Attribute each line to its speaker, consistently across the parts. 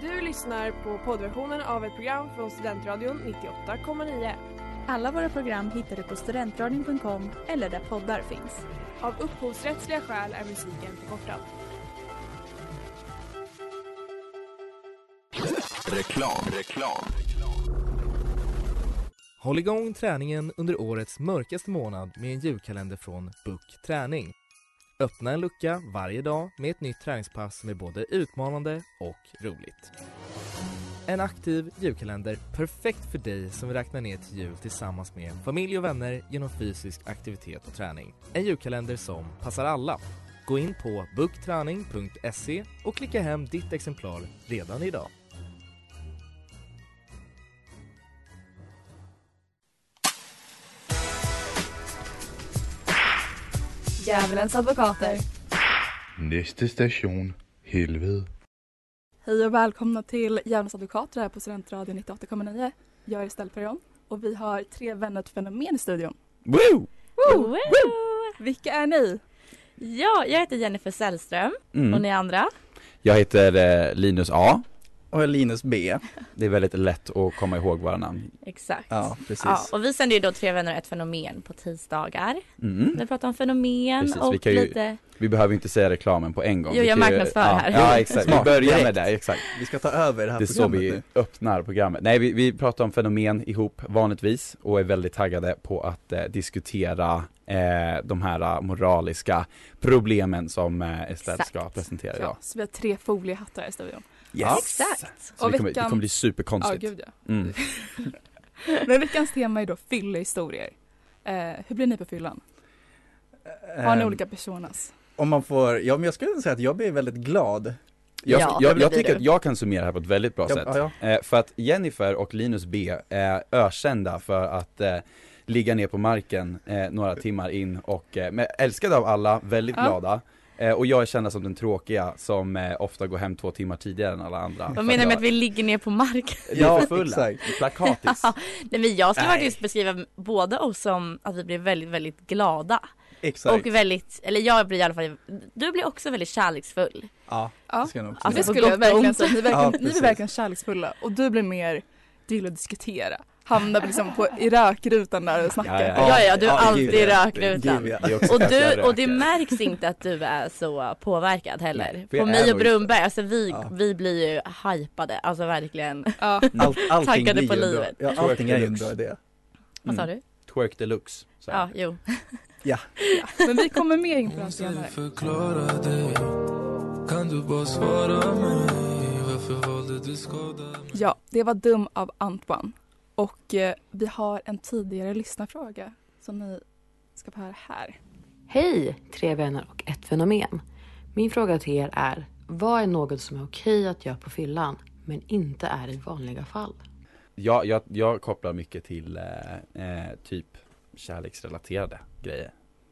Speaker 1: Du lyssnar på poddversionen av ett program från Studentradion 98,9.
Speaker 2: Alla våra program hittar du på studentradion.com eller där poddar finns.
Speaker 1: Av upphovsrättsliga skäl är musiken förkortad.
Speaker 3: Reklam, reklam.
Speaker 4: Håll igång träningen under årets mörkaste månad med en julkalender från Book Träning. Öppna en lucka varje dag med ett nytt träningspass som är både utmanande och roligt. En aktiv julkalender perfekt för dig som vill räkna ner till jul tillsammans med familj och vänner genom fysisk aktivitet och träning. En julkalender som passar alla. Gå in på booktraning.se och klicka hem ditt exemplar redan idag.
Speaker 2: Djävulens advokater.
Speaker 5: Nästa station, helvede.
Speaker 2: Hej och välkomna till Djävulens advokater här på Studentradion 98,9. Jag är Estelle Perion och vi har tre vänner till fenomen i studion.
Speaker 6: Woo!
Speaker 2: Woo! Vilka är ni?
Speaker 7: Ja, jag heter Jennifer Sällström och ni andra.
Speaker 6: Mm. Jag heter eh, Linus A.
Speaker 8: Och Linus B.
Speaker 6: Det är väldigt lätt att komma ihåg våra namn.
Speaker 7: Exakt.
Speaker 8: Ja, precis.
Speaker 7: Ja, och vi sänder ju då Tre vänner och ett fenomen på tisdagar.
Speaker 6: Mm.
Speaker 7: Vi pratar om fenomen
Speaker 6: Precis,
Speaker 7: och
Speaker 6: vi kan ju-
Speaker 7: lite,
Speaker 6: Vi behöver inte säga reklamen på en gång.
Speaker 7: Jo,
Speaker 6: Vi
Speaker 7: jag
Speaker 6: kan ju-
Speaker 7: marknadsför
Speaker 6: ja,
Speaker 7: här.
Speaker 6: Ja, exakt. Vi
Speaker 8: Smart,
Speaker 6: börjar
Speaker 8: direkt.
Speaker 6: med det, exakt.
Speaker 8: Vi ska ta över det här
Speaker 6: Det är så
Speaker 8: programmet
Speaker 6: vi
Speaker 8: nu.
Speaker 6: öppnar programmet. Nej, vi, vi pratar om fenomen ihop vanligtvis och är väldigt taggade på att eh, diskutera eh, de här eh, moraliska problemen som eh, Estelle
Speaker 7: Exakt.
Speaker 6: ska presentera idag.
Speaker 2: Ja, så vi har tre foliehattar här i studion.
Speaker 7: exakt.
Speaker 6: Så
Speaker 2: Och
Speaker 6: det, kommer, det
Speaker 2: veckan-
Speaker 6: kommer bli
Speaker 2: Ja,
Speaker 6: superkonstigt.
Speaker 2: gud ja.
Speaker 6: mm.
Speaker 2: Men veckans tema är då fyllehistorier. Eh, hur blir ni på fyllan? Har ni
Speaker 8: Ehm,
Speaker 2: olika personas?
Speaker 8: Om man får, ja men jag skulle säga att jag blir väldigt glad.
Speaker 6: Jag,
Speaker 7: Ja,
Speaker 6: jag,
Speaker 7: det
Speaker 6: jag
Speaker 7: blir
Speaker 6: tycker
Speaker 7: du.
Speaker 6: att jag kan summera det här på ett väldigt bra sätt.
Speaker 8: Ja, ja,
Speaker 6: Eh, för att Jennifer och Linus B är ökända för att eh, ligga ner på marken eh, några timmar in och, eh, men älskade av alla, väldigt
Speaker 2: Ja.
Speaker 6: glada. Eh, och jag är kända som den tråkiga som eh, ofta går hem två timmar tidigare än alla andra.
Speaker 7: Vad menar du med att vi ligger ner på marken?
Speaker 6: vi är
Speaker 8: Ja,
Speaker 6: för fulla?
Speaker 8: exakt.
Speaker 6: Plakatis.
Speaker 7: Nej men jag skulle
Speaker 8: Nej.
Speaker 7: faktiskt beskriva både oss som att vi blir väldigt, väldigt glada.
Speaker 8: exakt.
Speaker 7: Och väldigt, eller jag blir i alla fall, du blir också väldigt kärleksfull.
Speaker 8: ja,
Speaker 2: Ja.
Speaker 8: det ska jag nog
Speaker 7: Alltså,
Speaker 2: det
Speaker 8: säga.
Speaker 7: på
Speaker 2: skulle jag
Speaker 7: gott och
Speaker 2: verkligen
Speaker 7: ont.
Speaker 2: säga. Ni, är verkligen,
Speaker 8: Ja,
Speaker 2: ni är
Speaker 8: precis.
Speaker 2: verkligen kärleksfulla och du blir mer, du gillar att diskutera. Hamnar liksom på, i rökrutan där och snackar.
Speaker 6: Ja, ja,
Speaker 7: Ja, ja, du är alltid
Speaker 8: gud, ja.
Speaker 7: rökrutan.
Speaker 8: Gud, ja.
Speaker 6: Det är också
Speaker 7: Och,
Speaker 6: att jag
Speaker 7: du, och det
Speaker 6: röker.
Speaker 7: märks inte att du är så påverkad heller.
Speaker 6: Nej, för jag
Speaker 7: På
Speaker 6: är
Speaker 7: mig och
Speaker 6: nog inte.
Speaker 7: Brunberg, alltså vi,
Speaker 8: Ja.
Speaker 7: vi blir ju hypade, alltså verkligen.
Speaker 2: Ja.
Speaker 8: Allt, allting
Speaker 7: Taggade
Speaker 8: blir
Speaker 7: på
Speaker 8: ju en bra-
Speaker 7: livet.
Speaker 8: Ja,
Speaker 6: Twerk
Speaker 8: allting är ju en
Speaker 6: deluxe.
Speaker 8: bra idé.
Speaker 6: Mm.
Speaker 7: Vad sa du?
Speaker 6: Twerk deluxe. Så.
Speaker 7: Ja, jo.
Speaker 2: Men vi kommer mer in på det här senare. Ja, det var Dum av Antoine. Och eh, vi har en tidigare lyssnarfråga som ni ska få höra här.
Speaker 9: Hej, tre vänner och ett fenomen. Min fråga till er är, vad är något som är okej att göra på fyllan, men inte är i vanliga fall?
Speaker 6: Jag, jag, jag kopplar mycket till eh, eh, typ kärleksrelaterade grejer.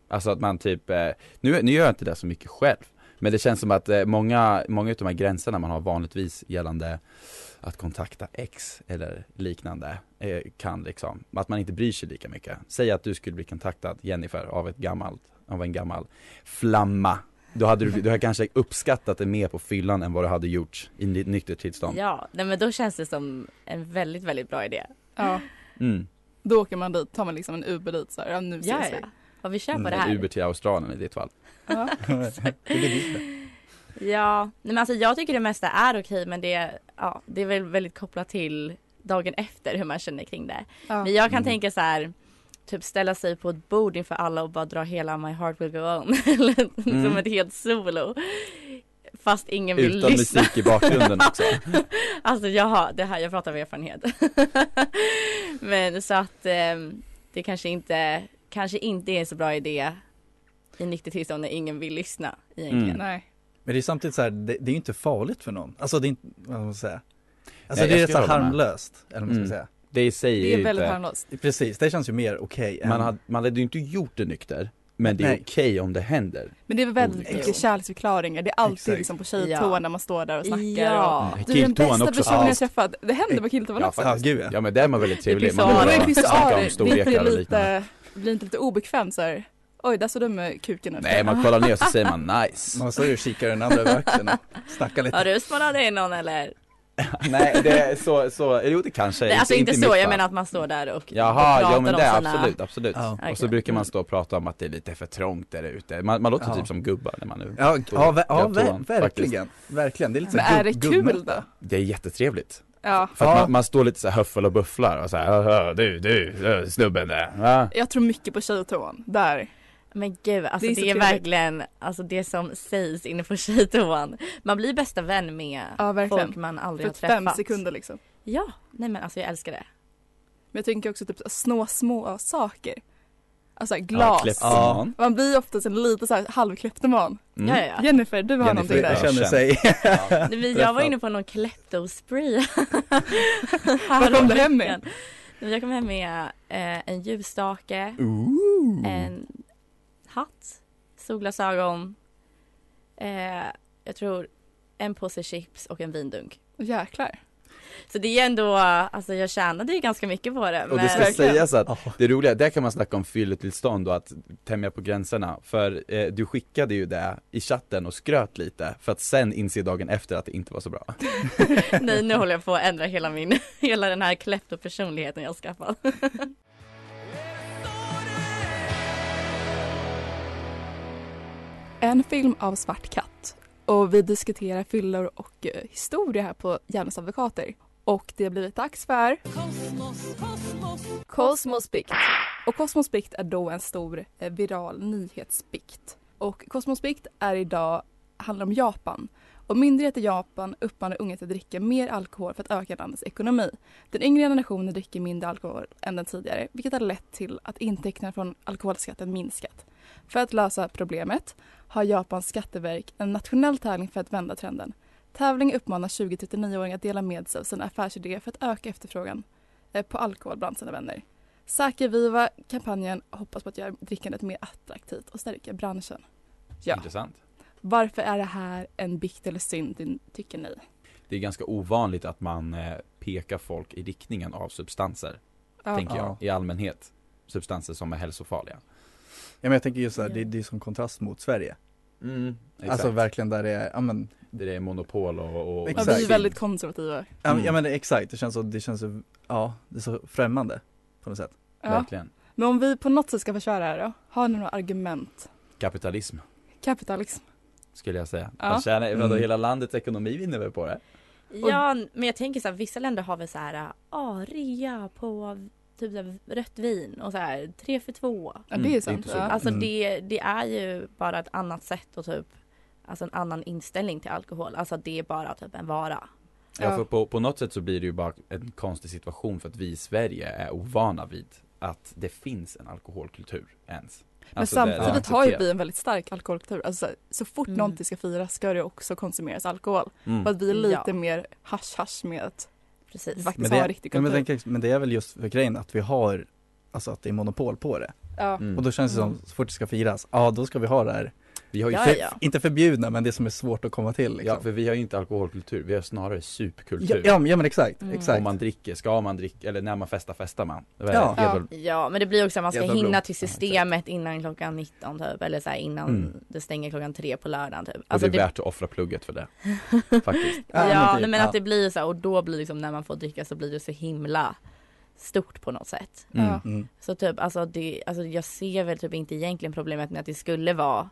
Speaker 6: Alltså att man typ, eh, nu, nu gör jag inte det så mycket själv. Men det känns som att eh, många, många av de här gränserna man har vanligtvis gällande att kontakta ex eller liknande eh, kan liksom, att man inte bryr sig lika mycket. Säg att du skulle bli kontaktad, Jennifer, av, ett gammalt, av en gammal flamma. Då hade du, du hade kanske uppskattat det mer på fyllan än vad du hade gjort i ditt nyktert tillstånd.
Speaker 7: Ja, nej men då känns det som en väldigt, väldigt bra idé.
Speaker 2: Ja,
Speaker 6: Mm.
Speaker 2: då åker man dit, tar man liksom en Uber dit så här, ja nu ses
Speaker 7: Ja,
Speaker 2: vi.
Speaker 7: ja. Har vi kör på
Speaker 8: Mm,
Speaker 7: det
Speaker 6: En
Speaker 7: här?
Speaker 6: Uber till Australien i ditt fall.
Speaker 2: Ja.
Speaker 8: det blir ditt.
Speaker 7: Ja, nej men alltså jag tycker det mesta är okej men det, ja, det är väl väldigt kopplat till dagen efter hur man känner kring det.
Speaker 2: Ja.
Speaker 7: Men jag kan
Speaker 6: Mm.
Speaker 7: tänka så här typ ställa sig på ett bord inför alla och bara dra hela My heart will go on eller
Speaker 6: Mm.
Speaker 7: som ett helt solo. Fast ingen vill
Speaker 6: Utan
Speaker 7: lyssna.
Speaker 6: musik i bakgrunden också.
Speaker 7: Alltså jag har, det här, jag pratar av erfarenhet. men så att ehm, det kanske inte, kanske inte är en så bra idé i nyktert tillstånd när ingen vill lyssna egentligen.
Speaker 6: Mm.
Speaker 2: Nej.
Speaker 8: Men det är samtidigt så här, det, det är ju inte farligt för någon. Alltså det är inte, vad ska man säga? Alltså
Speaker 6: Nej,
Speaker 8: det är
Speaker 6: jag
Speaker 8: så här
Speaker 6: skulle hålla med.
Speaker 8: harmlöst, eller vad man ska
Speaker 6: Mm.
Speaker 8: säga.
Speaker 6: Det i sig
Speaker 2: Det är
Speaker 6: ju
Speaker 2: väldigt
Speaker 6: inte,
Speaker 2: harmlöst.
Speaker 8: Precis, det känns ju mer okej än
Speaker 6: man, hade, man hade ju inte gjort det nykter, men det är
Speaker 8: Nej.
Speaker 6: okej om det händer.
Speaker 2: Men det är väl väldigt
Speaker 6: Olika.
Speaker 2: mycket kärleksförklaringar. Det är alltid
Speaker 8: Exakt.
Speaker 2: liksom på tjejtoan
Speaker 7: Ja.
Speaker 2: när man står där och snackar. Och,
Speaker 7: Ja.
Speaker 2: du är den
Speaker 6: Killtoan
Speaker 2: bästa
Speaker 6: också.
Speaker 2: personen
Speaker 6: Ja.
Speaker 2: jag träffat. Det händer på killtoan
Speaker 6: Ja,
Speaker 2: också.
Speaker 8: Ja, gud ja.
Speaker 6: Ja men där är man väldigt trevlig,
Speaker 7: blir
Speaker 6: man
Speaker 7: så-
Speaker 6: vill
Speaker 2: Ja, men
Speaker 6: bara
Speaker 2: visst
Speaker 6: snacka
Speaker 2: är
Speaker 6: om
Speaker 2: det, blir inte
Speaker 6: storlekar
Speaker 2: det
Speaker 6: och liknande.
Speaker 2: lite, blir inte lite obekvämt så här? Oj, där såg du med kuken ut.
Speaker 6: Nej man kollar ner och så säger man nice.
Speaker 8: Man står ju och kikar den andra över axeln och snackar lite.
Speaker 7: Har du smallat in någon eller?
Speaker 6: Nej, det är så, så, jo det kanske
Speaker 7: Nej, alltså inte,
Speaker 6: i
Speaker 7: så,
Speaker 6: mitt
Speaker 7: jag
Speaker 6: fall.
Speaker 7: menar att man står där och och
Speaker 6: Jaha,
Speaker 7: pratar
Speaker 6: ja men
Speaker 7: om
Speaker 6: det,
Speaker 7: sina...
Speaker 6: absolut, absolut.
Speaker 8: Ja.
Speaker 6: Och så
Speaker 7: Okej.
Speaker 6: brukar man stå och prata om att det är lite för trångt där ute, man, man låter
Speaker 8: Ja.
Speaker 6: typ som gubbar när man är
Speaker 8: Ja, ja, ver- ja
Speaker 6: Jag tror
Speaker 8: ver-
Speaker 6: han,
Speaker 8: verkligen, verkligen. Det är lite så
Speaker 2: Men
Speaker 8: här
Speaker 2: är det
Speaker 8: gubb-
Speaker 2: kul
Speaker 8: gubbmöte.
Speaker 2: då?
Speaker 6: Det är jättetrevligt.
Speaker 2: Ja.
Speaker 6: För att
Speaker 8: Ja.
Speaker 6: man, man står lite så här höffel och bufflar och så här, "Haha, du, du, eh, snubben där. va?"
Speaker 2: Jag tror mycket på tjejtoan. Där.
Speaker 7: Men gud, alltså
Speaker 2: Det
Speaker 7: det
Speaker 2: är så
Speaker 7: är,
Speaker 2: trevligt.
Speaker 7: verkligen alltså det som sägs inne på tjejtoan. Man blir bästa vän med
Speaker 2: Ja, verkligen.
Speaker 7: folk man
Speaker 2: För
Speaker 7: aldrig har träffat.
Speaker 2: typ fem sekunder liksom.
Speaker 7: Ja, nej men alltså jag älskar det.
Speaker 2: Men jag tänker också typ snå små saker. Alltså
Speaker 6: Ja,
Speaker 2: glas.
Speaker 6: klipp
Speaker 8: Ja.
Speaker 6: banan.
Speaker 2: Man blir oftast en lite så här halvkleptoman.
Speaker 6: Mm.
Speaker 7: Ja, ja, ja.
Speaker 2: Jennifer, du har
Speaker 6: Jennifer,
Speaker 2: någonting där.
Speaker 6: ja.
Speaker 8: Jag känner sig,
Speaker 7: Nej, men jag var inne på någon kleptospray.
Speaker 2: Vad kom du hem med?
Speaker 7: Häromveckan. Nej, Jag kom hem med eh, en ljusstake, en hatt, solglasögon, eh, jag tror en påse chips och en vindunk.
Speaker 2: Jäklar.
Speaker 7: Så det är ändå, alltså jag tjänade ju ganska mycket på det.
Speaker 6: Och det ska
Speaker 7: men-
Speaker 6: sägas att det roliga, där kan man snacka om fylletillstånd och att tämja på gränserna. För eh, du skickade ju det i chatten och skröt lite för att sen inse dagen efter att det inte var så bra.
Speaker 7: Nej nu håller jag på att ändra hela min, hela den här kleptopersonligheten jag har skaffat.
Speaker 2: En film av Svart katt. Och vi diskuterar fyllor och eh, historia här på Hjärnans advokater. Och det har blivit dags för Kosmosbikt. Och Kosmosbikt är då en stor eh, viral nyhetsbikt. Och Kosmosbikt är idag, handlar om Japan. Och myndigheter i Japan uppmanar unga till att dricka mer alkohol för att öka landets ekonomi. Den yngre generationen dricker mindre alkohol än den tidigare vilket har lett till att intäkterna från alkoholskatten minskat. För att lösa problemet har Japans skatteverk en nationell tävling för att vända trenden. Tävlingen uppmanar 20-39-åringar att dela med sig av sina affärsidéer för att öka efterfrågan eh, på alkohol bland sina vänner. Säker Viva kampanjen hoppas på att göra drickandet mer attraktivt och stärka branschen. Ja.
Speaker 6: Intressant.
Speaker 2: Varför är det här en bikt eller synd, din- tycker ni?
Speaker 6: Det är ganska ovanligt att man eh, pekar folk i riktningen av substanser, tänker jag,
Speaker 8: Ja.
Speaker 6: i allmänhet. Substanser som är hälsofarliga.
Speaker 8: ja men jag tänker just så här, det, det är som kontrast mot Sverige.
Speaker 6: Mm, Exakt.
Speaker 8: Alltså verkligen där det är, ja men,
Speaker 6: det är monopol och, och
Speaker 2: Ja,
Speaker 8: Exakt.
Speaker 2: vi är väldigt konservativa.
Speaker 8: ja, men-
Speaker 6: Mm.
Speaker 8: ja men exakt, det känns så, det känns så, ja, det är så främmande på något sätt.
Speaker 2: Ja.
Speaker 6: Verkligen.
Speaker 2: Men om vi på något sätt ska försvara det här då? Har ni några argument?
Speaker 6: Kapitalism,
Speaker 2: Kapitalism.
Speaker 6: skulle jag säga.
Speaker 2: Ja.
Speaker 6: Man tjänar, vadå,
Speaker 8: Mm.
Speaker 6: hela landets ekonomi vinner väl på det?
Speaker 7: Ja men jag tänker så här, vissa länder har väl så här, ah, rea på typ så här, rött vin och så här, tre för två.
Speaker 2: Ja,
Speaker 6: Mm,
Speaker 2: det
Speaker 6: det
Speaker 2: är
Speaker 6: är
Speaker 2: sant.
Speaker 6: inte så.
Speaker 2: Ja.
Speaker 7: Alltså
Speaker 8: Mm.
Speaker 7: det, det är ju bara ett annat sätt och typ, alltså en annan inställning till alkohol. Alltså det är bara typ en vara.
Speaker 6: Ja,
Speaker 2: Ja.
Speaker 6: för på, på något sätt så blir det ju bara en konstig situation för att vi i Sverige är ovana vid att det finns en alkoholkultur ens.
Speaker 2: Men
Speaker 6: Alltså, det- det är
Speaker 2: samtidigt har ju
Speaker 6: accepterat.
Speaker 2: vi en väldigt stark alkoholkultur. Alltså, så- så fort
Speaker 7: Mm.
Speaker 2: någonting ska firas ska det också konsumeras alkohol. För
Speaker 6: Mm.
Speaker 2: att vi är lite
Speaker 7: Ja.
Speaker 2: mer hasch-hasch med att vi
Speaker 7: Precis.
Speaker 2: faktiskt
Speaker 8: Men
Speaker 2: har en
Speaker 8: det,
Speaker 2: riktig
Speaker 8: men,
Speaker 2: kultur.
Speaker 8: jag tänker, men det är väl just för grejen att vi har, alltså att det är monopol på det.
Speaker 2: ja.
Speaker 6: Mm.
Speaker 8: Och då känns det som, så fort det ska firas, ja då ska vi ha det här,
Speaker 6: Vi har ju,
Speaker 7: Ja,
Speaker 8: för,
Speaker 7: ja.
Speaker 8: inte förbjudna men det som är svårt att komma till
Speaker 6: ja,
Speaker 8: liksom.
Speaker 6: för vi har ju inte alkoholkultur, vi har snarare supkultur.
Speaker 8: Ja, ja, men- ja men exakt,
Speaker 7: Mm.
Speaker 8: exakt.
Speaker 6: Om man dricker, ska man dricka, eller när man festar, festar man. Det var
Speaker 8: Ja.
Speaker 6: helt-
Speaker 7: Ja men det blir också att man ska
Speaker 6: Jävla
Speaker 7: hinna
Speaker 6: blod.
Speaker 7: till
Speaker 6: Ja, exakt.
Speaker 7: systemet innan klockan 19 typ eller så här, innan
Speaker 6: Mm.
Speaker 7: det stänger klockan tre på lördagen typ.
Speaker 6: Och
Speaker 2: Alltså,
Speaker 6: det är värt att offra plugget för det. Faktiskt.
Speaker 7: ja,
Speaker 8: Ja, men
Speaker 7: men,
Speaker 8: typ,
Speaker 7: men
Speaker 8: ja.
Speaker 7: att det blir så här, och då blir det liksom när man får dricka så blir det så himla stort på något sätt.
Speaker 6: Mm.
Speaker 2: Ja.
Speaker 8: Mm.
Speaker 7: Så typ alltså, det, alltså jag ser väl typ inte egentligen problemet med att det skulle vara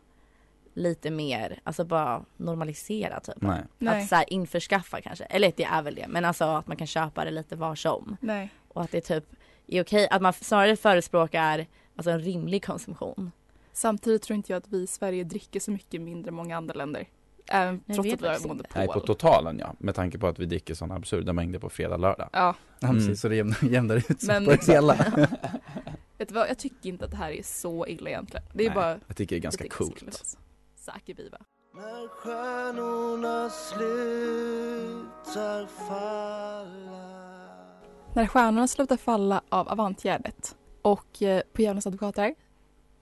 Speaker 7: lite mer, alltså bara normalisera typ.
Speaker 6: Nej.
Speaker 2: Nej.
Speaker 7: Att så här införskaffa kanske, eller det är väl det, men alltså att man kan köpa det lite var som.
Speaker 2: Nej.
Speaker 7: Och att det typ är okej, att man snarare förespråkar alltså en rimlig konsumtion.
Speaker 2: Samtidigt tror inte jag att vi i Sverige dricker så mycket mindre än många andra länder. Även
Speaker 7: jag
Speaker 2: trots
Speaker 7: vet
Speaker 2: att vi har
Speaker 7: faktiskt inte.
Speaker 6: Nej, på
Speaker 2: monopol.
Speaker 6: totalen ja. Med tanke på att vi dricker sådana absurda mängder på fredag, lördag.
Speaker 2: Ja,
Speaker 8: Ja,
Speaker 6: Mm.
Speaker 8: precis, så det jämnar, jämnar ut sig
Speaker 2: Men-
Speaker 8: på det hela.
Speaker 2: vet du vad? Jag tycker inte att det här är så illa egentligen. Det är
Speaker 6: Nej,
Speaker 2: bara
Speaker 6: Jag tycker det är ganska
Speaker 2: Jag tycker det skulle
Speaker 6: coolt.
Speaker 2: vara så. Säker Viva. När stjärnorna slutar falla av Avantgärdet och eh, på Djävulens advokater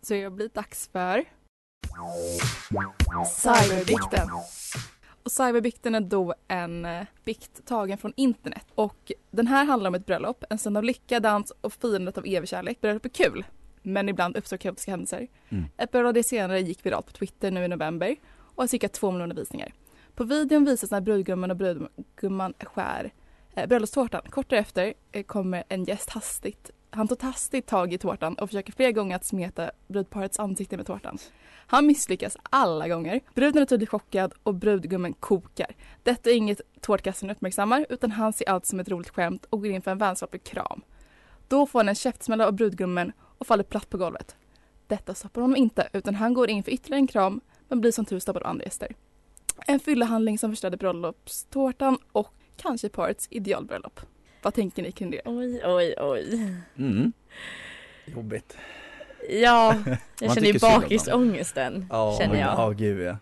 Speaker 2: så är det blivit dags för Cyberbikten. Och cyberbikten är då en eh, bikt tagen från internet. Och den här handlar om ett bröllop, en stund av lycka, dans och firandet av evig kärlek. Bröllop är kul, men ibland uppstår kaotiska händelser. Ett par dagar senare gick viralt på Twitter nu i november och har cirka två miljoner visningar. På videon visas när brudgummen och brudgumman skär eh, bröllopstårtan. Kort därefter eh, kommer en gäst hastigt. Han tar hastigt tag i tårtan och försöker flera gånger att smeta brudparets ansikte med tårtan. Han misslyckas alla gånger. Bruden är tydligt chockad och brudgummen kokar. Detta är inget tårtkasten uppmärksammar utan han ser allt som ett roligt skämt och går in för en vänskaplig kram. Då får han en käftsmäll av brudgummen och faller platt på golvet. Detta stoppar honom inte utan han går in för ytterligare en kram men blir som tur stoppad av andra gäster. En fyllehandling som förstörde bröllopstårtan och kanske parets idealbröllop. Vad tänker ni kring det?
Speaker 7: Oj, oj, oj.
Speaker 6: Mm.
Speaker 8: Jobbigt.
Speaker 7: Ja, jag
Speaker 6: Man
Speaker 7: känner ju
Speaker 6: tycker synd om
Speaker 7: bakisångesten.
Speaker 8: Ja,
Speaker 7: Känner jag.
Speaker 8: Ja, gud ja.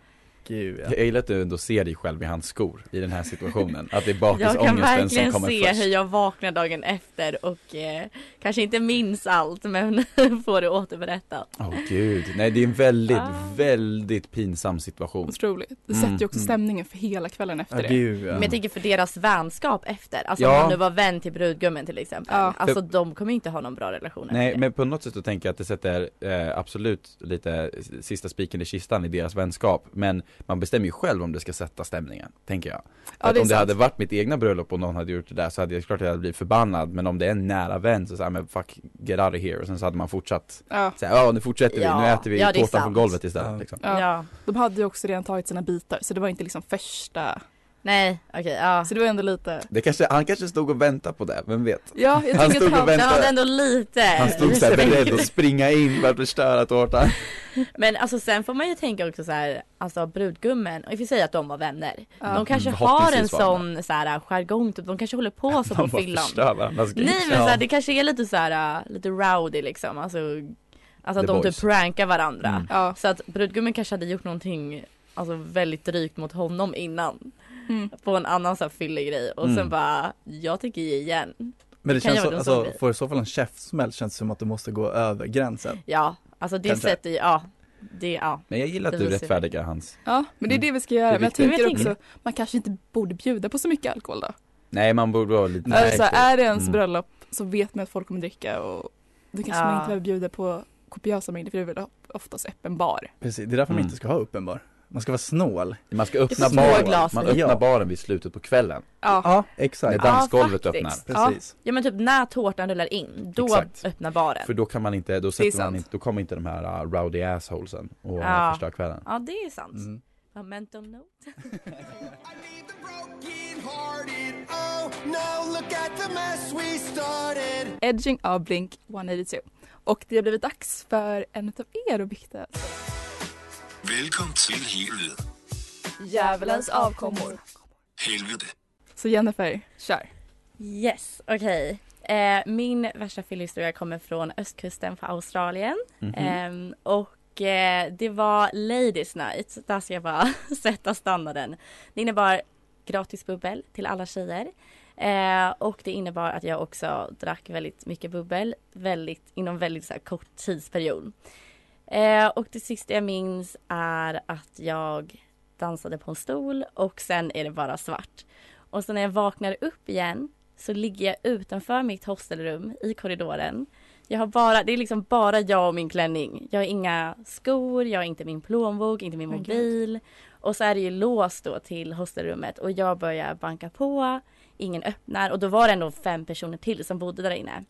Speaker 8: Gud ja.
Speaker 6: Jag gillar att du ändå ser dig själv i hans skor i den här situationen, att det är
Speaker 7: Jag kan
Speaker 6: bakisångesten som
Speaker 7: verkligen
Speaker 6: kommer
Speaker 7: se
Speaker 6: först
Speaker 7: hur jag vaknar dagen efter och eh, kanske inte minns allt men får det återberättat.
Speaker 6: Åh gud, nej det är en väldigt,
Speaker 7: Ah.
Speaker 6: väldigt pinsam situation
Speaker 2: Otroligt. Det
Speaker 6: Mm.
Speaker 2: sätter ju också
Speaker 8: Mm.
Speaker 2: stämningen för hela kvällen
Speaker 8: Ja,
Speaker 2: efter det.
Speaker 8: gud ja.
Speaker 7: Men jag tänker för deras vänskap efter, alltså
Speaker 6: Ja.
Speaker 7: om man nu var vän till brudgummen till exempel.
Speaker 2: Ja.
Speaker 7: Alltså de kommer inte ha någon bra relation
Speaker 6: Nej
Speaker 7: efter.
Speaker 6: men på något sätt så tänker jag att det sätter eh, absolut lite sista spiken i kistan i deras vänskap Men man bestämmer ju själv om det ska sätta stämningen, tänker jag
Speaker 2: Ja,
Speaker 6: Att
Speaker 2: det är
Speaker 6: Om det
Speaker 2: sant.
Speaker 6: hade varit mitt egna bröllop och någon hade gjort det där så hade jag klart att jag hade blivit förbannad Men om det är en nära vän så såhär, men fuck, get out of here och sen så hade man fortsatt
Speaker 2: Ja,
Speaker 6: såhär, ja nu fortsätter vi,
Speaker 7: Ja.
Speaker 6: nu äter vi
Speaker 7: Ja, det är
Speaker 6: tårtan
Speaker 7: sant.
Speaker 6: från golvet istället
Speaker 8: Ja.
Speaker 6: liksom.
Speaker 2: ja.
Speaker 7: Ja,
Speaker 2: De hade ju också redan tagit sina bitar så det var inte liksom första.
Speaker 7: nej okej ja.
Speaker 2: Så det var ändå lite.
Speaker 6: det kanske, Han kanske stod och väntade på det, vem vet?
Speaker 2: Ja, jag
Speaker 6: Han
Speaker 2: tycker att
Speaker 6: stod och
Speaker 2: han,
Speaker 7: Men han hade
Speaker 6: väntade
Speaker 7: ändå lite
Speaker 6: Han stod såhär
Speaker 7: respekt.
Speaker 6: beredd att springa in för att förstöra tårtan
Speaker 7: Men alltså sen får man ju tänka också så här, alltså brudgummen, och vi säger att de var vänner.
Speaker 2: Ja.
Speaker 7: De kanske
Speaker 6: Mm,
Speaker 7: har en
Speaker 6: förhoppningsvis var de
Speaker 7: sån så här jargong typ, de kanske håller på så på
Speaker 6: De bara
Speaker 7: fyllan.
Speaker 6: förstör varandras grejer.
Speaker 7: Nej men så här, det kanske är lite så här, äh, lite rowdy liksom, alltså, alltså
Speaker 6: The
Speaker 7: att de
Speaker 6: boys.
Speaker 7: typ prankar varandra.
Speaker 6: Mm.
Speaker 2: ja.
Speaker 7: Så att brudgummen kanske hade gjort någonting Alltså väldigt drygt mot honom innan
Speaker 2: Mm.
Speaker 7: På en annan så här fyllig grej och
Speaker 6: Mm.
Speaker 7: sen bara Jag tänker ge igen
Speaker 8: Men
Speaker 7: Kan
Speaker 8: det känns
Speaker 7: jag
Speaker 8: som,
Speaker 7: göra en
Speaker 8: alltså,
Speaker 7: sån grej?
Speaker 8: får i så fall en käftsmäll känns det som att du måste gå över gränsen.
Speaker 7: Ja Alltså det
Speaker 8: Kanske.
Speaker 7: sätter ju, ja Det, ja
Speaker 6: Men jag gillar
Speaker 7: Det
Speaker 6: att du
Speaker 7: visar-
Speaker 6: rättfärdigar hans
Speaker 2: ja, men det är
Speaker 6: Mm.
Speaker 2: det vi ska göra.
Speaker 6: Det är
Speaker 2: Men jag
Speaker 6: viktigt.
Speaker 2: tänker
Speaker 7: Men jag
Speaker 2: också, man kanske inte borde bjuda på så mycket alkohol då.
Speaker 6: Nej man borde vara lite
Speaker 2: Nej, alltså, är det ens
Speaker 6: Mm.
Speaker 2: bröllop så vet man att folk kommer dricka och då kanske
Speaker 7: Ja.
Speaker 2: man inte behöver bjuda på kopiösa mängder för det är väl oftast öppen bar.
Speaker 8: Precis, det är därför
Speaker 6: Mm.
Speaker 8: man inte ska ha uppenbar. Man ska vara snål.
Speaker 6: Man ska
Speaker 7: Det är
Speaker 6: öppna
Speaker 7: små
Speaker 6: baren,
Speaker 7: glas.
Speaker 6: man öppnar
Speaker 8: Ja.
Speaker 6: baren vid slutet på kvällen
Speaker 2: Ja,
Speaker 8: Ja,
Speaker 6: När
Speaker 8: exakt.
Speaker 7: Ja,
Speaker 6: dansgolvet
Speaker 7: faktiskt.
Speaker 6: öppnar
Speaker 8: Precis.
Speaker 7: Ja men typ när tårtan rullar in, då
Speaker 6: Exakt.
Speaker 7: öppnar baren
Speaker 6: För då kan man inte, då
Speaker 2: Det är
Speaker 6: sätter man
Speaker 2: sant.
Speaker 6: inte, då kommer inte de här uh, rowdy assholesen och uh,
Speaker 7: Ja.
Speaker 6: förstör kvällen
Speaker 7: Ja det är sant
Speaker 8: Mm.
Speaker 7: Momentum note
Speaker 2: Edging av Blink 182. Och det har blivit dags för en utav er att bikta.
Speaker 3: Velkommen til helvede.
Speaker 2: Djävulens avkommor.
Speaker 3: Helvede.
Speaker 2: Så Jennifer, kör.
Speaker 7: Yes, okej eh, Min värsta fyllehistoria kommer från östkusten på Australien
Speaker 6: Mhm.
Speaker 7: Ehm, och eh, det var Ladies Night, där ska jag bara sätta standarden. Det innebar gratis bubbel till alla tjejer. Eh, och det innebar att jag också drack väldigt mycket bubbel väldigt, inom väldigt så här, kort tidsperiod. Eh, och det sista jag minns är att jag dansade på en stol och sen är det bara svart. Och sen när jag vaknar upp igen så ligger jag utanför mitt hostelrum i korridoren. Jag har bara, det är liksom bara jag och min klänning. Jag har inga skor, jag har inte min plånbok, inte min
Speaker 2: Men
Speaker 7: mobil. Och så är det ju låst då till hostelrummet och jag börjar banka på. Ingen öppnar och då var det ändå fem personer till som bodde där inne.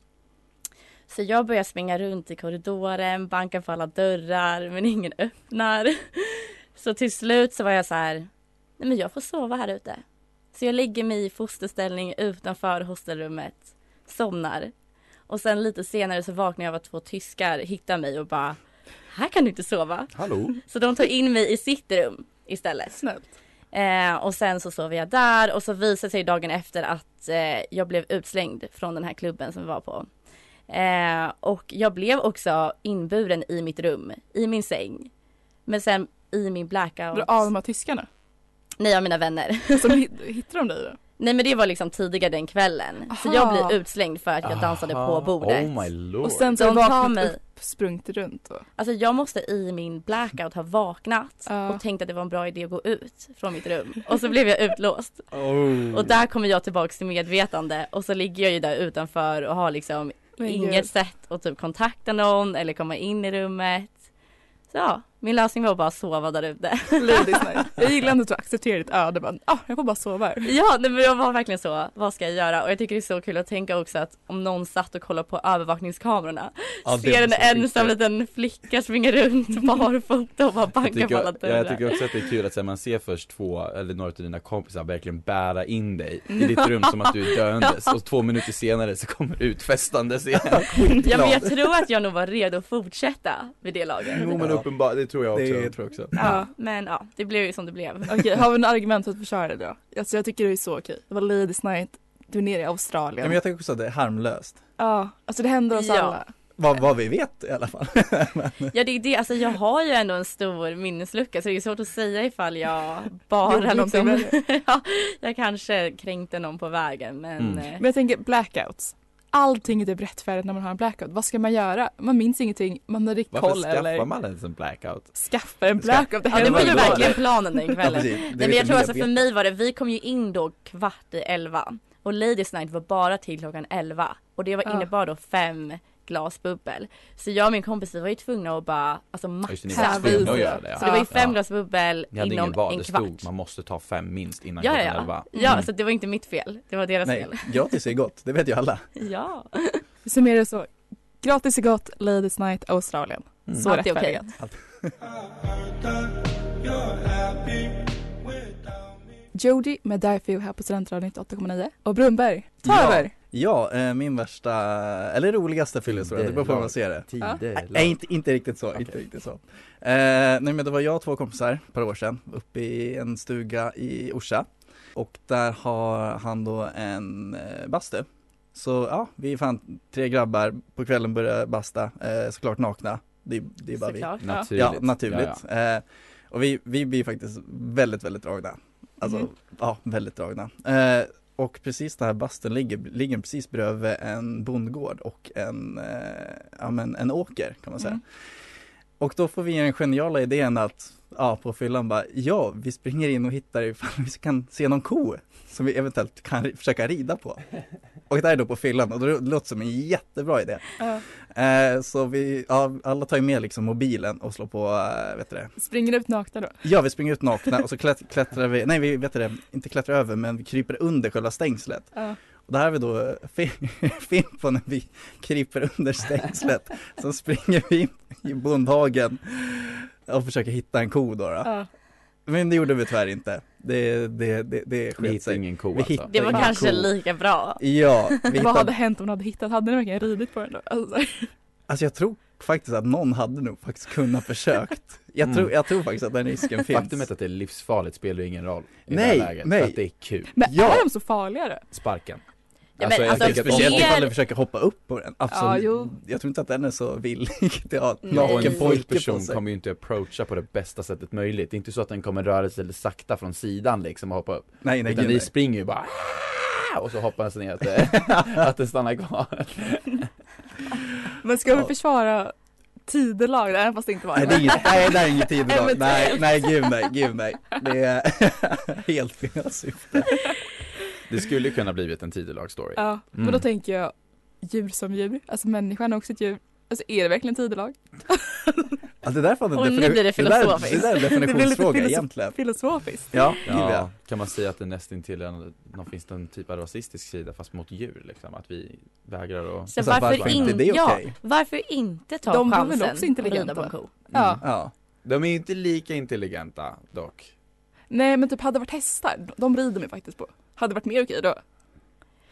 Speaker 7: Så jag börjar springa runt i korridoren, banka på alla dörrar men ingen öppnar. Så till slut så var jag så här, nej men jag får sova här ute. Så jag lägger mig i fosterställning utanför hostelrummet, somnar. Och sen lite senare så vaknar jag av att två tyskar hittar mig och bara, här kan du inte sova.
Speaker 6: Hallå?
Speaker 7: Så de tar in mig i sitt rum istället.
Speaker 2: Snällt.
Speaker 7: Eh, och sen så sover jag där och så visar sig dagen efter att eh, jag blev utslängd från den här klubben som vi var på. Eh, och jag blev också inburen i mitt rum, i min säng. Men sen i min
Speaker 2: Var
Speaker 7: blackout.
Speaker 2: du av de här tyskarna?
Speaker 7: Nej, av mina vänner.
Speaker 2: Så hit- hittar de dig då?
Speaker 7: Nej men det var liksom tidigare den kvällen. Så
Speaker 2: Aha.
Speaker 7: jag blev utslängd för att jag dansade
Speaker 6: Aha,
Speaker 7: på bordet.
Speaker 6: Oh my lord
Speaker 2: Och sen så har
Speaker 7: De
Speaker 2: du
Speaker 7: tar
Speaker 2: vaknat
Speaker 7: mig.
Speaker 2: upp, sprungit runt och...
Speaker 7: Alltså jag måste i min blackout ha vaknat
Speaker 2: Ja.
Speaker 7: och tänkt att det var en bra idé att gå ut från mitt rum. Och så blev jag utlåst.
Speaker 8: Oh.
Speaker 7: Och där kommer jag tillbaks till medvetande och så ligger jag ju där utanför och har liksom
Speaker 2: Men
Speaker 7: inget
Speaker 2: gud.
Speaker 7: sätt att typ kontakta någon eller komma in i rummet. Så ja, Min lösning var bara att sova där ute.
Speaker 2: Ladies night. Jag gillar ändå att du accepterar ditt öde. Bara, ah, jag får bara sova här.
Speaker 7: Ja, nej, men jag var verkligen så, vad ska jag göra? Och jag tycker det är så kul att tänka också att om någon satt och kollade på övervakningskamerorna,
Speaker 8: Ja, det
Speaker 7: ser en
Speaker 8: var så
Speaker 7: ensam liten flicka springa runt barfota och bara
Speaker 6: Jag
Speaker 7: banka på alla
Speaker 6: tycker, jag tycker
Speaker 7: dörrar.
Speaker 6: också att det är kul att så här, man ser först två eller några av dina kompisar verkligen bära in dig
Speaker 7: Mm.
Speaker 6: i ditt rum som att du är döendes och två minuter senare så kommer du ut festandes igen.
Speaker 7: Ja, men jag tror att jag nog var redo att fortsätta vid det laget.
Speaker 6: Jo men uppenbart, det tror jag också.
Speaker 8: Det-
Speaker 6: jag tror också.
Speaker 7: Ja, men ja, det blev ju som det blev.
Speaker 2: Okej, har vi några argument för att försvara det då? Alltså, jag tycker det är så okej. Det var ladies night, du är nere i
Speaker 8: Ja,
Speaker 2: Australien.
Speaker 8: men
Speaker 2: Ja,
Speaker 8: jag tänker också att det är harmlöst.
Speaker 2: alltså det händer oss
Speaker 7: Ja.
Speaker 2: alla.
Speaker 8: Vad, vad vi vet i alla fall.
Speaker 7: Ja, det är det, alltså jag har ju ändå en stor minneslucka så det är svårt att säga ifall jag bara
Speaker 2: Gjorde någonting
Speaker 7: liksom, ja, jag kanske kränkte någon på vägen men
Speaker 6: Mm.
Speaker 7: eh,
Speaker 2: Men jag tänker blackouts. Allting är typ rättfärdigt när man har en blackout. Vad ska man göra? Man minns ingenting, man har inte
Speaker 6: Varför
Speaker 2: koll
Speaker 6: skaffar
Speaker 2: eller
Speaker 6: man ens en blackout?
Speaker 2: skaffar en blackout. Det
Speaker 7: Ja det var ju
Speaker 2: händer ju bara.
Speaker 7: verkligen planen den
Speaker 8: Ja,
Speaker 7: kvällen.
Speaker 8: precis. Det
Speaker 7: Nej
Speaker 8: vet
Speaker 7: men jag tror alltså
Speaker 8: medvetet.
Speaker 7: för mig var det, vi kom ju in då kvart i elva och Ladies Night var bara till klockan elva och det var
Speaker 2: Ja.
Speaker 7: innebar då fem glas bubbel. Så jag och min kompis vi var ju tvungna att bara alltså
Speaker 6: Just
Speaker 7: maxa.
Speaker 6: det, ni
Speaker 2: Här
Speaker 6: var tvungna att göra det.
Speaker 7: Så det var ju
Speaker 2: Ja.
Speaker 7: fem
Speaker 6: Ja.
Speaker 7: glas bubbel
Speaker 6: Ni hade
Speaker 7: inom
Speaker 6: ingen val,
Speaker 7: en
Speaker 6: det stod
Speaker 7: kvart.
Speaker 6: man måste ta fem minst innan
Speaker 7: Ja, ja,
Speaker 6: klockan
Speaker 7: ja.
Speaker 6: elva. Mm.
Speaker 7: Ja, så det var inte mitt fel. Det var deras
Speaker 8: Nej,
Speaker 7: fel.
Speaker 8: gratis är gott, det vet ju alla.
Speaker 7: Ja.
Speaker 2: Vi summerar så. Gratis är gott, ladies night, Australien.
Speaker 6: Mm.
Speaker 2: Så
Speaker 7: Allt är okej.
Speaker 2: rättfärdigat. Jodie med Därför här på Studentradion 98,9 och Brunberg, ta
Speaker 8: Ja.
Speaker 2: över!
Speaker 8: Ja, eh, min värsta, eller roligaste fyllehistoria, det beror på hur man ser det.
Speaker 6: Tider,
Speaker 8: Nej, inte, inte riktigt så, inte riktigt så. Eh, nej men det var jag och två kompisar ett par år sedan uppe i en stuga i Orsa. Och där har han då en eh, bastu. Så ja, vi är fan tre grabbar, på kvällen börjar basta, eh, såklart nakna. Det, det är bara vi.
Speaker 7: Såklart. Ja.
Speaker 6: Mm.
Speaker 8: Ja,
Speaker 6: Naturligt.
Speaker 8: naturligt.
Speaker 6: Ja, ja.
Speaker 8: Eh, och vi, vi blir faktiskt väldigt, väldigt dragna. Alltså,
Speaker 2: Mhm.
Speaker 8: ja, väldigt dragna. Eh, och precis den här bastun ligger, ligger precis bredvid en bondgård och en, eh, ja, men en åker kan man säga.
Speaker 2: Mm.
Speaker 8: Och då får vi den geniala idén att, ja, på fyllan bara, ja, vi springer in och hittar ifall vi kan se någon ko som vi eventuellt kan ri- försöka rida på. Och det här är då på fyllan och det låter som en jättebra idé.
Speaker 2: Ja.
Speaker 8: Eh, så vi, ja, alla tar ju med liksom mobilen och slår på, eh, vet du det?
Speaker 2: Springer ut nakna då?
Speaker 8: Ja, vi springer ut nakna och så klätt, klättrar vi, nej vi vet du det, inte klättrar över men vi kryper under själva stängslet.
Speaker 2: Ja.
Speaker 8: Och där har vi då eh, fi- film på när vi kryper under stängslet. Sen springer vi in i bondhagen och försöker hitta en ko då. då.
Speaker 2: Ja.
Speaker 8: Men det gjorde vi tyvärr inte. Det, det, det, det
Speaker 6: Ni
Speaker 8: sket
Speaker 6: hittade
Speaker 8: sig.
Speaker 6: ingen ko
Speaker 8: Vi
Speaker 6: alltså.
Speaker 8: hittade-
Speaker 7: Det var
Speaker 8: Ja,
Speaker 7: kanske
Speaker 8: cool.
Speaker 7: lika bra.
Speaker 8: Ja, vi
Speaker 2: Vad hade
Speaker 8: hittade,
Speaker 2: hänt om du hade hittat? Hade ni verkligen ridit på den då? Alltså,
Speaker 8: alltså jag tror faktiskt att någon hade nog faktiskt kunnat försökt. Jag tror, jag tror faktiskt att den risken finns.
Speaker 6: Faktumet att det Mm. är livsfarligt spelar ju ingen roll i
Speaker 8: Nej,
Speaker 6: det här läget,
Speaker 8: nej.
Speaker 6: för att det är kul.
Speaker 2: men
Speaker 8: Ja.
Speaker 2: är de så farliga då?
Speaker 6: Sparken.
Speaker 7: men
Speaker 6: jag
Speaker 7: alltså,
Speaker 6: tänker att om-
Speaker 8: Speciellt
Speaker 7: Mer-
Speaker 8: ifall du försöker hoppa upp på den,
Speaker 2: Ja,
Speaker 8: absolut.
Speaker 2: jo.
Speaker 8: jag tror inte att den är så villig till att ha
Speaker 7: Nej.
Speaker 6: Ja, och
Speaker 8: naken
Speaker 6: en
Speaker 7: Vilken
Speaker 6: full
Speaker 8: Mm. pojke på
Speaker 6: person
Speaker 8: sig.
Speaker 6: kommer ju inte approacha på det bästa sättet möjligt. Det är inte så att den kommer röra sig eller sakta från sidan liksom och hoppa upp.
Speaker 8: Nej, nej,
Speaker 6: Utan
Speaker 8: gud,
Speaker 6: vi
Speaker 8: nej.
Speaker 6: springer ju bara och så hoppas den ner att, det- att den stannar kvar.
Speaker 2: Men ska vi
Speaker 8: Ja.
Speaker 2: försvara tidelag även fast det inte var
Speaker 8: Nej, det är inget, nej, det är inget
Speaker 2: Eventuellt.
Speaker 8: tidelag. Nej, nej, gud nej, gud nej. Det är helt fel syfte.
Speaker 6: Det skulle ju kunna blivit en tidelag-story.
Speaker 2: Ja, men då
Speaker 6: Mm.
Speaker 2: tänker jag djur som djur, alltså människan är också ett djur. Alltså är det verkligen tidelag?
Speaker 8: Alltså, det där fan en
Speaker 7: Och nu
Speaker 8: defini-
Speaker 7: blir det
Speaker 8: där-
Speaker 7: filosofiskt.
Speaker 8: Det där är en
Speaker 2: Det
Speaker 8: definitionsfråga
Speaker 2: blir lite
Speaker 8: egentligen.
Speaker 2: Filosofiskt.
Speaker 8: Ja,
Speaker 6: Ja,
Speaker 8: ja.
Speaker 6: kan man säga att det nästan till en, någon, finns det en typ av rasistisk sida fast mot djur liksom? Att vi vägrar att...
Speaker 7: Så
Speaker 8: Alltså,
Speaker 7: varför,
Speaker 8: varför
Speaker 7: in...
Speaker 8: inte? Det är
Speaker 7: ja,
Speaker 8: okej.
Speaker 7: varför inte ta
Speaker 2: De var väl
Speaker 7: chansen
Speaker 2: också
Speaker 7: att
Speaker 2: intelligenta.
Speaker 7: rida på en ko?
Speaker 2: Ja.
Speaker 8: ja.
Speaker 6: De är ju inte lika intelligenta dock.
Speaker 2: Nej men typ hade det varit hästar, de rider mig faktiskt på. Hade varit mer okej då?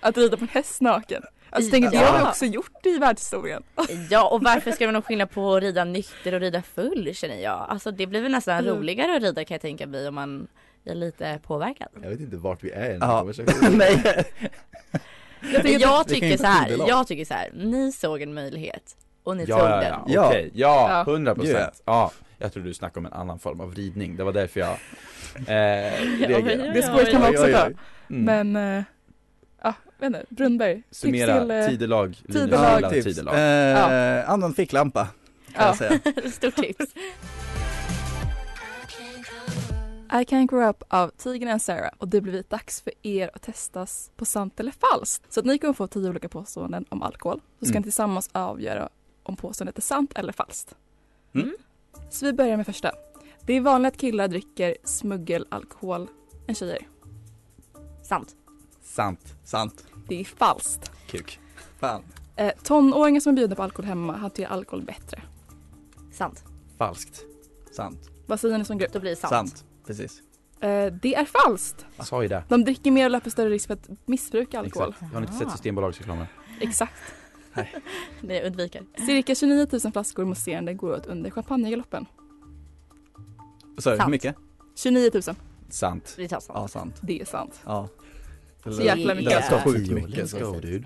Speaker 2: Att rida på en häst naken. Alltså tänker jag,
Speaker 7: Ja.
Speaker 2: det har vi också gjort i världshistorien.
Speaker 7: Ja och varför ska det vara någon skillnad på att rida nykter och rida full känner jag. Alltså det blir väl nästan
Speaker 2: Mm.
Speaker 7: roligare att rida kan jag tänka mig om man är lite påverkad.
Speaker 6: Jag vet inte vart vi är i den
Speaker 8: Ja. nej.
Speaker 7: Jag, jag
Speaker 8: vi kan
Speaker 7: tycker
Speaker 8: inte
Speaker 7: så här,
Speaker 8: tidelag.
Speaker 7: jag tycker så här, ni såg en möjlighet och ni tog
Speaker 6: Ja,
Speaker 7: den.
Speaker 6: ja, ja,
Speaker 8: Ja.
Speaker 6: okej, ja,
Speaker 2: Ja.
Speaker 6: 100 procent.
Speaker 8: Yeah.
Speaker 6: Ja, jag tror du snackade om en annan form av ridning, det var därför jag eh,
Speaker 7: men-
Speaker 6: reagerade.
Speaker 2: Det spåret kan man
Speaker 8: Oj,
Speaker 2: också
Speaker 8: oj,
Speaker 2: ta.
Speaker 8: oj.
Speaker 6: Mm.
Speaker 2: Men, eh, ja, vet inte, Brunnberg. tips till,
Speaker 6: Summera
Speaker 2: eh,
Speaker 6: tidelag,
Speaker 2: tidelag.
Speaker 6: tidelag,
Speaker 8: tips.
Speaker 6: tidelag.
Speaker 8: Eh,
Speaker 2: Ja.
Speaker 8: Använd ficklampa, kan
Speaker 2: ja.
Speaker 8: jag säga.
Speaker 7: Stort tips.
Speaker 2: I can't grow up av Tigern and Sarah och det har blivit dags för er att testas på sant eller falskt. Så att ni kommer få tio olika påståenden om alkohol. Så ska
Speaker 8: Mm.
Speaker 2: ni tillsammans avgöra om påståendet är sant eller falskt.
Speaker 8: Mm.
Speaker 2: Så vi börjar med första. Det är vanligt att killar dricker smuggelalkohol än tjejer.
Speaker 7: Sant.
Speaker 6: Sant.
Speaker 8: Sant.
Speaker 2: Det är falskt.
Speaker 6: Kuk.
Speaker 8: Fan.
Speaker 2: Eh, tonåringar som är bjudna på alkohol hemma hanterar alkohol bättre.
Speaker 7: Sant.
Speaker 6: Falskt.
Speaker 8: Sant.
Speaker 2: Vad säger ni som grupp?
Speaker 7: Då blir det sant.
Speaker 8: Sant. Precis.
Speaker 2: Eh, det är falskt.
Speaker 6: Jag sa ju det.
Speaker 2: De dricker mer och löper större risk för att missbruka alkohol. Ah.
Speaker 6: Exakt. Har ni inte sett Systembolagsreklamen?
Speaker 2: Exakt.
Speaker 7: Det undviker.
Speaker 2: Cirka 29 000 flaskor mousserande går åt under champagnegaloppen.
Speaker 8: Så hur
Speaker 7: Sant.
Speaker 8: mycket?
Speaker 2: 29 000.
Speaker 6: Sant.
Speaker 7: Vi tar sant.
Speaker 8: Ja, sant.
Speaker 2: Det är sant.
Speaker 8: Ja.
Speaker 2: Så jäkla mycket.
Speaker 8: Det lät sjukt
Speaker 6: Let's
Speaker 8: mycket.
Speaker 6: go dude.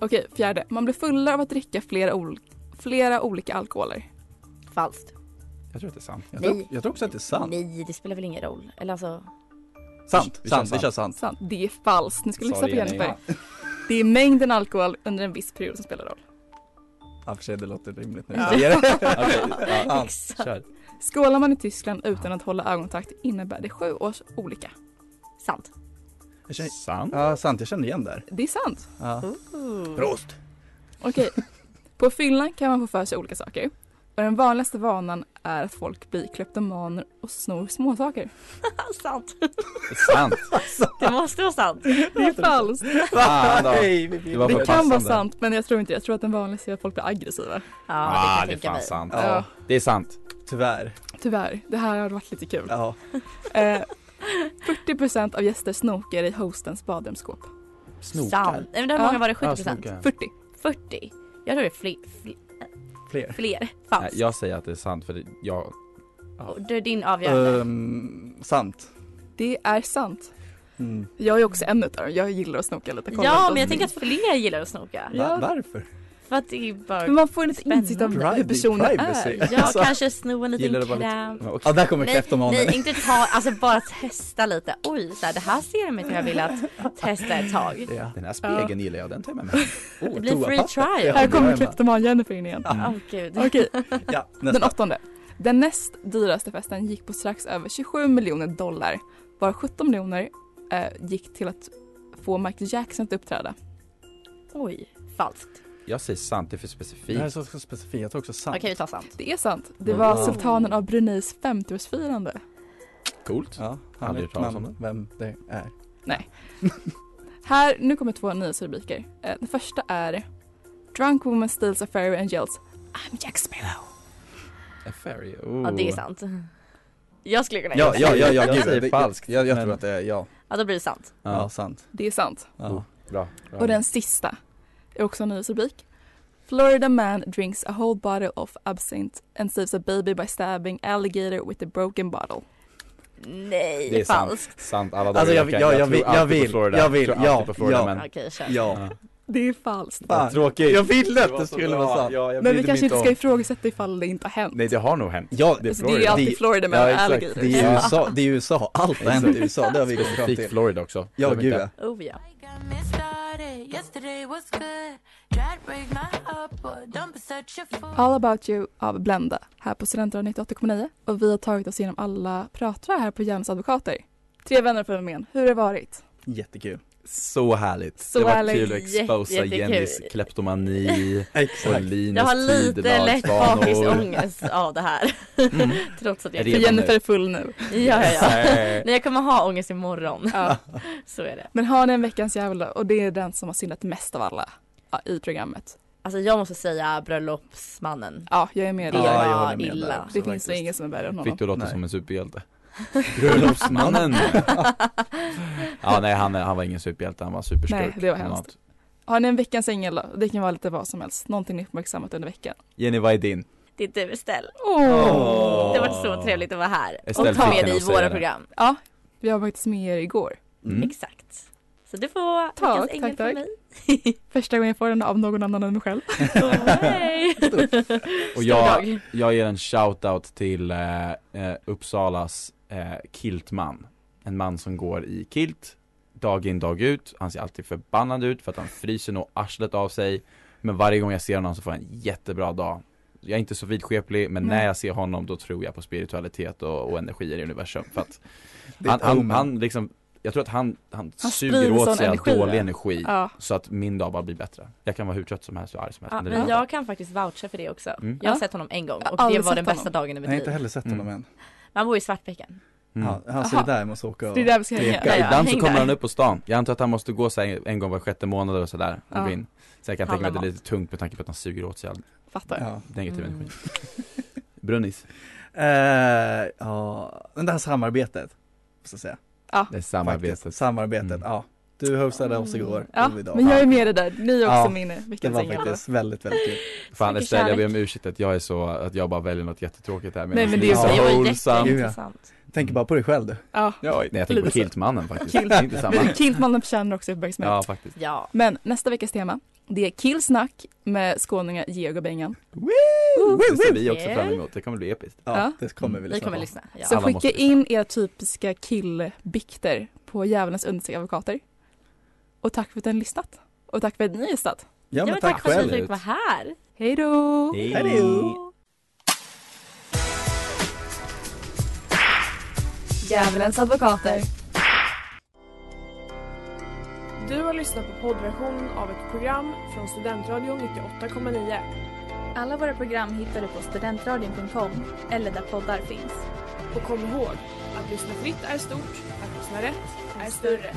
Speaker 2: Okej, fjärde. Man blir fullare av att dricka flera, ol- flera olika alkoholer.
Speaker 7: Falskt.
Speaker 6: Jag tror att det är sant.
Speaker 8: Jag
Speaker 7: Nej.
Speaker 8: tror, jag tror också att det är sant.
Speaker 7: Nej, det spelar väl ingen roll. Eller alltså,
Speaker 8: Sant,
Speaker 6: Vi kör
Speaker 8: sant, vi
Speaker 6: sant.
Speaker 8: kör sant.
Speaker 2: Sant. Det är falskt. Nu ska du
Speaker 6: Sa
Speaker 2: lyssna
Speaker 6: det
Speaker 2: på
Speaker 6: igen,
Speaker 2: Jennifer. Det är mängden alkohol under en viss period som spelar roll.
Speaker 8: Ja, för sig, det låter rimligt nu.
Speaker 7: Ja.
Speaker 8: Säger det.
Speaker 6: Okej, ja.
Speaker 7: exakt.
Speaker 6: Kör.
Speaker 2: Skålar man i Tyskland utan att hålla ögonkontakt innebär det sju års olycka.
Speaker 7: Sant.
Speaker 8: Jag känner,
Speaker 6: Sant.
Speaker 8: ja, sant, jag känner igen där.
Speaker 2: Det är sant.
Speaker 8: Ja.
Speaker 6: Prost.
Speaker 2: Okej. På fyllan kan man få för sig olika saker. Och den vanligaste vanan är att folk blir kleptomaner och snor småsaker.
Speaker 7: sant.
Speaker 6: Sant.
Speaker 7: Det måste vara sant.
Speaker 2: Det är falskt.
Speaker 6: Fan då.
Speaker 8: Nej, vi-
Speaker 6: Det var för
Speaker 2: Det kan vara
Speaker 6: passande.
Speaker 2: sant men jag tror inte det. Jag tror att den vanligaste är att folk blir aggressiva.
Speaker 7: Ja, det kan
Speaker 6: Ah, det är
Speaker 7: jag tänka
Speaker 6: fan
Speaker 7: mig.
Speaker 6: sant.
Speaker 8: Ja,
Speaker 6: Det är sant.
Speaker 8: tyvärr.
Speaker 2: Tyvärr, det här har varit lite kul.
Speaker 8: Ja.
Speaker 2: Eh, 40% av gäster snokar i hostens badrumsskåp.
Speaker 7: Sant. Nej, men hur
Speaker 2: Ja.
Speaker 7: många var det? 70
Speaker 6: Ja,
Speaker 7: procent?
Speaker 6: snokar.
Speaker 2: 40.
Speaker 7: 40? Jag tror det är fler. fler,
Speaker 8: Fler.
Speaker 7: fler.
Speaker 6: Nej,
Speaker 7: Falskt.
Speaker 6: jag säger att det är sant för det- jag...
Speaker 7: Och Det är din
Speaker 6: Eh,
Speaker 7: avgörande.
Speaker 8: Um, sant.
Speaker 2: Det är sant.
Speaker 8: Mm.
Speaker 2: Jag är också en utav dem. Jag gillar att snoka lite. kolla
Speaker 7: ja,
Speaker 2: runt
Speaker 7: men jag
Speaker 2: oss.
Speaker 7: tänker att fler gillar att snoka.
Speaker 8: Va,
Speaker 2: Ja.
Speaker 8: Varför?
Speaker 7: För att det är
Speaker 2: Men
Speaker 7: bara...
Speaker 2: man får lite insikt om hur
Speaker 8: Private-
Speaker 2: personen
Speaker 8: privacy.
Speaker 2: är.
Speaker 7: Ja,
Speaker 8: Alltså,
Speaker 7: kanske sno en
Speaker 6: gillar det
Speaker 7: liten
Speaker 6: bara lite-
Speaker 7: kräm.
Speaker 6: Ja, okej.
Speaker 8: Ja, där kommer
Speaker 7: Nej,
Speaker 8: kräftomanen.
Speaker 7: nej, inte ta, alltså bara testa lite. Oj, så här, det här ser ut jag vill att testa ett tag.
Speaker 8: Ja.
Speaker 6: Den här spegeln gillar jag, den tar jag med mig.
Speaker 8: Oh,
Speaker 7: Det blir free
Speaker 8: toapapper.
Speaker 7: trial.
Speaker 2: Här kommer
Speaker 8: Ja,
Speaker 2: kleptoman-Jennifer in igen.
Speaker 7: Åh gud.
Speaker 2: Okej,
Speaker 8: Ja,
Speaker 2: den
Speaker 8: nästa.
Speaker 2: åttonde. Den näst dyraste festen gick på strax över 27 miljoner dollar. Bara 17 miljoner eh, gick till att få Michael Jackson att uppträda.
Speaker 7: Oj, falskt.
Speaker 6: Jag säger sant, det är för
Speaker 8: Det här är
Speaker 6: specifikt.
Speaker 8: så så specifikt, jag tror också sant.
Speaker 7: Okej, vi tar sant.
Speaker 2: Det är sant. Det var
Speaker 8: Wow.
Speaker 2: sultanen av Bruneis 50-årsfirande.
Speaker 6: Coolt.
Speaker 8: Ja, han
Speaker 6: Aldrig
Speaker 8: vet
Speaker 6: hört talas om
Speaker 8: man vem det är.
Speaker 2: Här, nu kommer två nyhetsrubriker. Eh, Den första är Drunk woman steals a fairy and yells I'm Jack Sparrow.
Speaker 6: A fairy.
Speaker 7: Ja, det är
Speaker 6: oh.
Speaker 7: sant. Jag skulle kunna
Speaker 8: Ja,
Speaker 7: gissa.
Speaker 8: ja, ja, ja,
Speaker 6: Jag
Speaker 8: gud,
Speaker 6: säger
Speaker 8: det-
Speaker 6: falskt,
Speaker 8: Jag, jag
Speaker 6: men-
Speaker 8: tror att det är ja.
Speaker 7: Ja, då blir det sant.
Speaker 8: Ja,
Speaker 6: Ja,
Speaker 8: sant.
Speaker 2: Det är sant.
Speaker 8: Ja.
Speaker 6: bra. bra.
Speaker 2: Och den sista är också en nyhetsrubrik. Florida man drinks a whole bottle of absinthe and saves a baby by stabbing alligator with a broken bottle.
Speaker 7: Nej,
Speaker 6: Det är sant.
Speaker 7: falskt.
Speaker 6: Sant alla dagar
Speaker 8: Alltså,
Speaker 6: i
Speaker 8: jag-
Speaker 6: veckan.
Speaker 8: jag- jag
Speaker 6: tror
Speaker 8: vill- jag
Speaker 6: alltid på
Speaker 8: vill,
Speaker 6: Florida.
Speaker 8: jag vill,
Speaker 6: tror alltid
Speaker 8: ja,
Speaker 6: på Florida,
Speaker 8: ja.
Speaker 6: men-
Speaker 7: Okej, kör.
Speaker 8: Ja.
Speaker 2: Det är falskt.
Speaker 8: Fan.
Speaker 6: Tråkigt.
Speaker 8: Jag ville att
Speaker 6: var
Speaker 8: det
Speaker 6: så
Speaker 8: skulle
Speaker 6: bra.
Speaker 8: vara sant.
Speaker 6: Ja, jag
Speaker 2: Men
Speaker 6: brydde
Speaker 2: vi
Speaker 6: mig
Speaker 2: kanske inte
Speaker 6: om-
Speaker 2: ska ifrågasätta ifall det inte har hänt.
Speaker 6: Nej, det har nog hänt.
Speaker 8: Ja,
Speaker 6: Det är
Speaker 2: alltså, det är ju
Speaker 6: Florida.
Speaker 2: alltid
Speaker 8: Det-
Speaker 2: Florida man
Speaker 6: Ja,
Speaker 2: och
Speaker 6: exakt.
Speaker 2: alligator.
Speaker 8: Det är ju USA, det är ju USA. Allt har hänt i USA, det har vi kommit fram
Speaker 6: Specifikt
Speaker 8: till.
Speaker 6: Florida också.
Speaker 8: Ja,
Speaker 6: Glöm
Speaker 8: gud
Speaker 6: inte.
Speaker 8: ja.
Speaker 7: Oh ja.
Speaker 2: All about you av Blenda här på Studentradion 98,9 och vi har tagit oss igenom alla pratare här på Hjärnans advokater. Tre vänner och fenomen, hur har det varit?
Speaker 8: Jättekul.
Speaker 6: Så härligt.
Speaker 2: Så
Speaker 6: det var
Speaker 2: härligt.
Speaker 6: kul att exposa
Speaker 7: Jätte- jättekul.
Speaker 6: Jennys kleptomani och
Speaker 8: Exakt.
Speaker 6: Linus
Speaker 7: Jag har lite lätt
Speaker 6: tidelagsvanor.
Speaker 7: bakisångest av det här. Trots att
Speaker 6: Är
Speaker 7: jag
Speaker 6: det
Speaker 2: För
Speaker 6: Redan
Speaker 2: Jennifer
Speaker 6: nu.
Speaker 2: är full nu.
Speaker 7: Ja, ja, ja.
Speaker 6: Mm. Nej.
Speaker 7: Nej, jag kommer ha ångest imorgon.
Speaker 2: Ja.
Speaker 7: Så är det.
Speaker 2: Men har ni en veckans djävul då? och det är den som har syndat mest av alla ja, i programmet.
Speaker 7: Alltså jag måste säga bröllopsmannen.
Speaker 2: Ja, jag är med
Speaker 7: Det
Speaker 2: dig.
Speaker 8: Ja, jag
Speaker 7: var
Speaker 8: håller med där
Speaker 7: illa.
Speaker 6: Alltså,
Speaker 8: också.
Speaker 2: det finns nog
Speaker 8: faktiskt.
Speaker 2: ingen som är värre än honom.
Speaker 6: Fick du låta
Speaker 8: Nej.
Speaker 6: som en superhjälte? Bröllopsmannen! ja nej han, han var ingen superhjälte, han var superskurk
Speaker 2: Nej, det var hemskt.
Speaker 6: Något.
Speaker 2: Har ni en veckans ängel då? Det kan vara lite vad som helst, någonting ni uppmärksammat under veckan.
Speaker 6: Jenny vad är din?
Speaker 7: Det är du Estelle.
Speaker 6: Åh.
Speaker 7: Det har varit så trevligt att vara här
Speaker 6: Estelle
Speaker 7: och ta
Speaker 6: fick
Speaker 7: med
Speaker 6: henne
Speaker 7: dig i
Speaker 6: att säga
Speaker 7: våra
Speaker 6: det.
Speaker 7: program.
Speaker 2: Ja, vi var faktiskt med er igår.
Speaker 6: Mm.
Speaker 7: Exakt. Så du får
Speaker 2: Tack,
Speaker 7: veckans ängel
Speaker 2: tack, tack.
Speaker 7: för mig.
Speaker 2: Första gången jag får den av någon annan än mig själv.
Speaker 7: Oh, hej.
Speaker 6: Och
Speaker 7: Stor
Speaker 6: jag,
Speaker 7: dag.
Speaker 6: jag ger en shoutout till eh, eh, Uppsalas eh, kiltman En man som går i kilt Dag in dag ut, han ser alltid förbannad ut för att han fryser nog arslet av sig Men varje gång jag ser honom så får jag en jättebra dag Jag är inte så vidskeplig men
Speaker 2: Nej.
Speaker 6: när jag ser honom då tror jag på spiritualitet och, och energier i universum för att
Speaker 8: Det är
Speaker 6: han,
Speaker 8: ett
Speaker 6: han,
Speaker 8: omen.
Speaker 6: han liksom jag tror att han, han,
Speaker 2: Han
Speaker 6: suger
Speaker 2: sprider
Speaker 6: åt
Speaker 2: sån
Speaker 6: sig all
Speaker 2: energi,
Speaker 6: dålig
Speaker 2: va?
Speaker 6: energi
Speaker 2: Ja.
Speaker 6: så att min dag bara blir bättre. Jag kan vara hur trött som helst och arg som helst.
Speaker 7: Ja,
Speaker 6: det blir
Speaker 7: men
Speaker 6: bra.
Speaker 7: jag kan faktiskt voucha för det också.
Speaker 6: Mm.
Speaker 7: Jag har
Speaker 2: Ja.
Speaker 7: sett honom en gång
Speaker 2: Jag har
Speaker 7: och det
Speaker 2: aldrig
Speaker 7: var
Speaker 2: sett
Speaker 7: den bästa
Speaker 2: honom.
Speaker 7: dagen i
Speaker 8: Jag
Speaker 7: mitt
Speaker 8: har inte
Speaker 7: liv.
Speaker 8: heller sett honom än.
Speaker 7: Man bor i Svartbäcken.
Speaker 6: Mm.
Speaker 8: Han, han ser
Speaker 2: Aha.
Speaker 8: där, jag måste åka och...
Speaker 2: Det är där vi ska
Speaker 8: Ja,
Speaker 2: hänga.
Speaker 7: ja,
Speaker 6: Ibland så
Speaker 7: häng
Speaker 6: kommer
Speaker 7: där.
Speaker 6: han upp på stan. Jag antar att han måste gå så här en gång var sjätte månad och sådär. och
Speaker 2: Ja.
Speaker 6: gå in. Så jag kan tänka mig att det
Speaker 7: Handla
Speaker 6: är lite tungt med tanke på att han suger åt sig all
Speaker 2: Fattar.
Speaker 8: Ja.
Speaker 6: negativ
Speaker 2: Mm.
Speaker 6: energi. Brunnis,
Speaker 8: Eh, ja, men det här samarbetet, måste jag säga.
Speaker 6: det är
Speaker 8: Faktiskt.
Speaker 6: samarbetet.
Speaker 8: Samarbetet,
Speaker 6: Mm.
Speaker 8: ja. Du hostade oss igår,
Speaker 2: Mm. Ja,
Speaker 8: och idag.
Speaker 2: men jag är med dig där. Ni är också
Speaker 8: Ja,
Speaker 2: min
Speaker 8: Det
Speaker 2: veckans
Speaker 8: var
Speaker 2: ängel.
Speaker 8: faktiskt väldigt, väldigt kul.
Speaker 6: Fan
Speaker 7: mycket
Speaker 6: Estelle, jag ber
Speaker 7: kärlek.
Speaker 6: om ursäkt att jag är så, att jag bara väljer något jättetråkigt här.
Speaker 2: Nej, men
Speaker 6: ni
Speaker 2: det är
Speaker 6: så
Speaker 2: okej.
Speaker 7: Det var
Speaker 6: wholesome.
Speaker 8: Mm.
Speaker 7: jätteintressant.
Speaker 8: Tänk bara på dig själv du.
Speaker 2: Ja.
Speaker 6: Ja, nej, jag tänker på
Speaker 2: Lite så.
Speaker 6: Kiltmannen faktiskt.
Speaker 2: Kilt.
Speaker 6: Det är inte samma.
Speaker 2: Kiltmannen förtjänar också uppmärksamhet.
Speaker 6: Ja, faktiskt.
Speaker 7: Ja.
Speaker 2: Men nästa veckas tema, det är killsnack med skåningar Georg och Bengan.
Speaker 6: Det ser vi också
Speaker 7: Yeah.
Speaker 6: fram emot. Det kommer bli episkt.
Speaker 8: Ja, Mm.
Speaker 2: Ja.
Speaker 8: det kommer vi
Speaker 7: Vi
Speaker 8: lyssna
Speaker 7: kommer
Speaker 8: på.
Speaker 7: lyssna. Ja.
Speaker 2: Så
Speaker 6: alla måste
Speaker 2: skicka in era typiska killbikter på Djävulens understreck advokater. Och tack för att ni har lyssnat. Och tack för att ni har gästat.
Speaker 8: Ja,
Speaker 7: Ja,
Speaker 8: men
Speaker 7: men tack för att ni fick
Speaker 6: själv.
Speaker 7: vara här.
Speaker 2: Hej då!
Speaker 8: Hej då.
Speaker 2: Djävulens advokater.
Speaker 1: Du har lyssnat på poddversionen av ett program från Studentradion 98,9.
Speaker 10: Alla våra program hittar du på studentradion.com eller där poddar finns.
Speaker 1: Och kom ihåg, att lyssna fritt är stort, att lyssna rätt är större.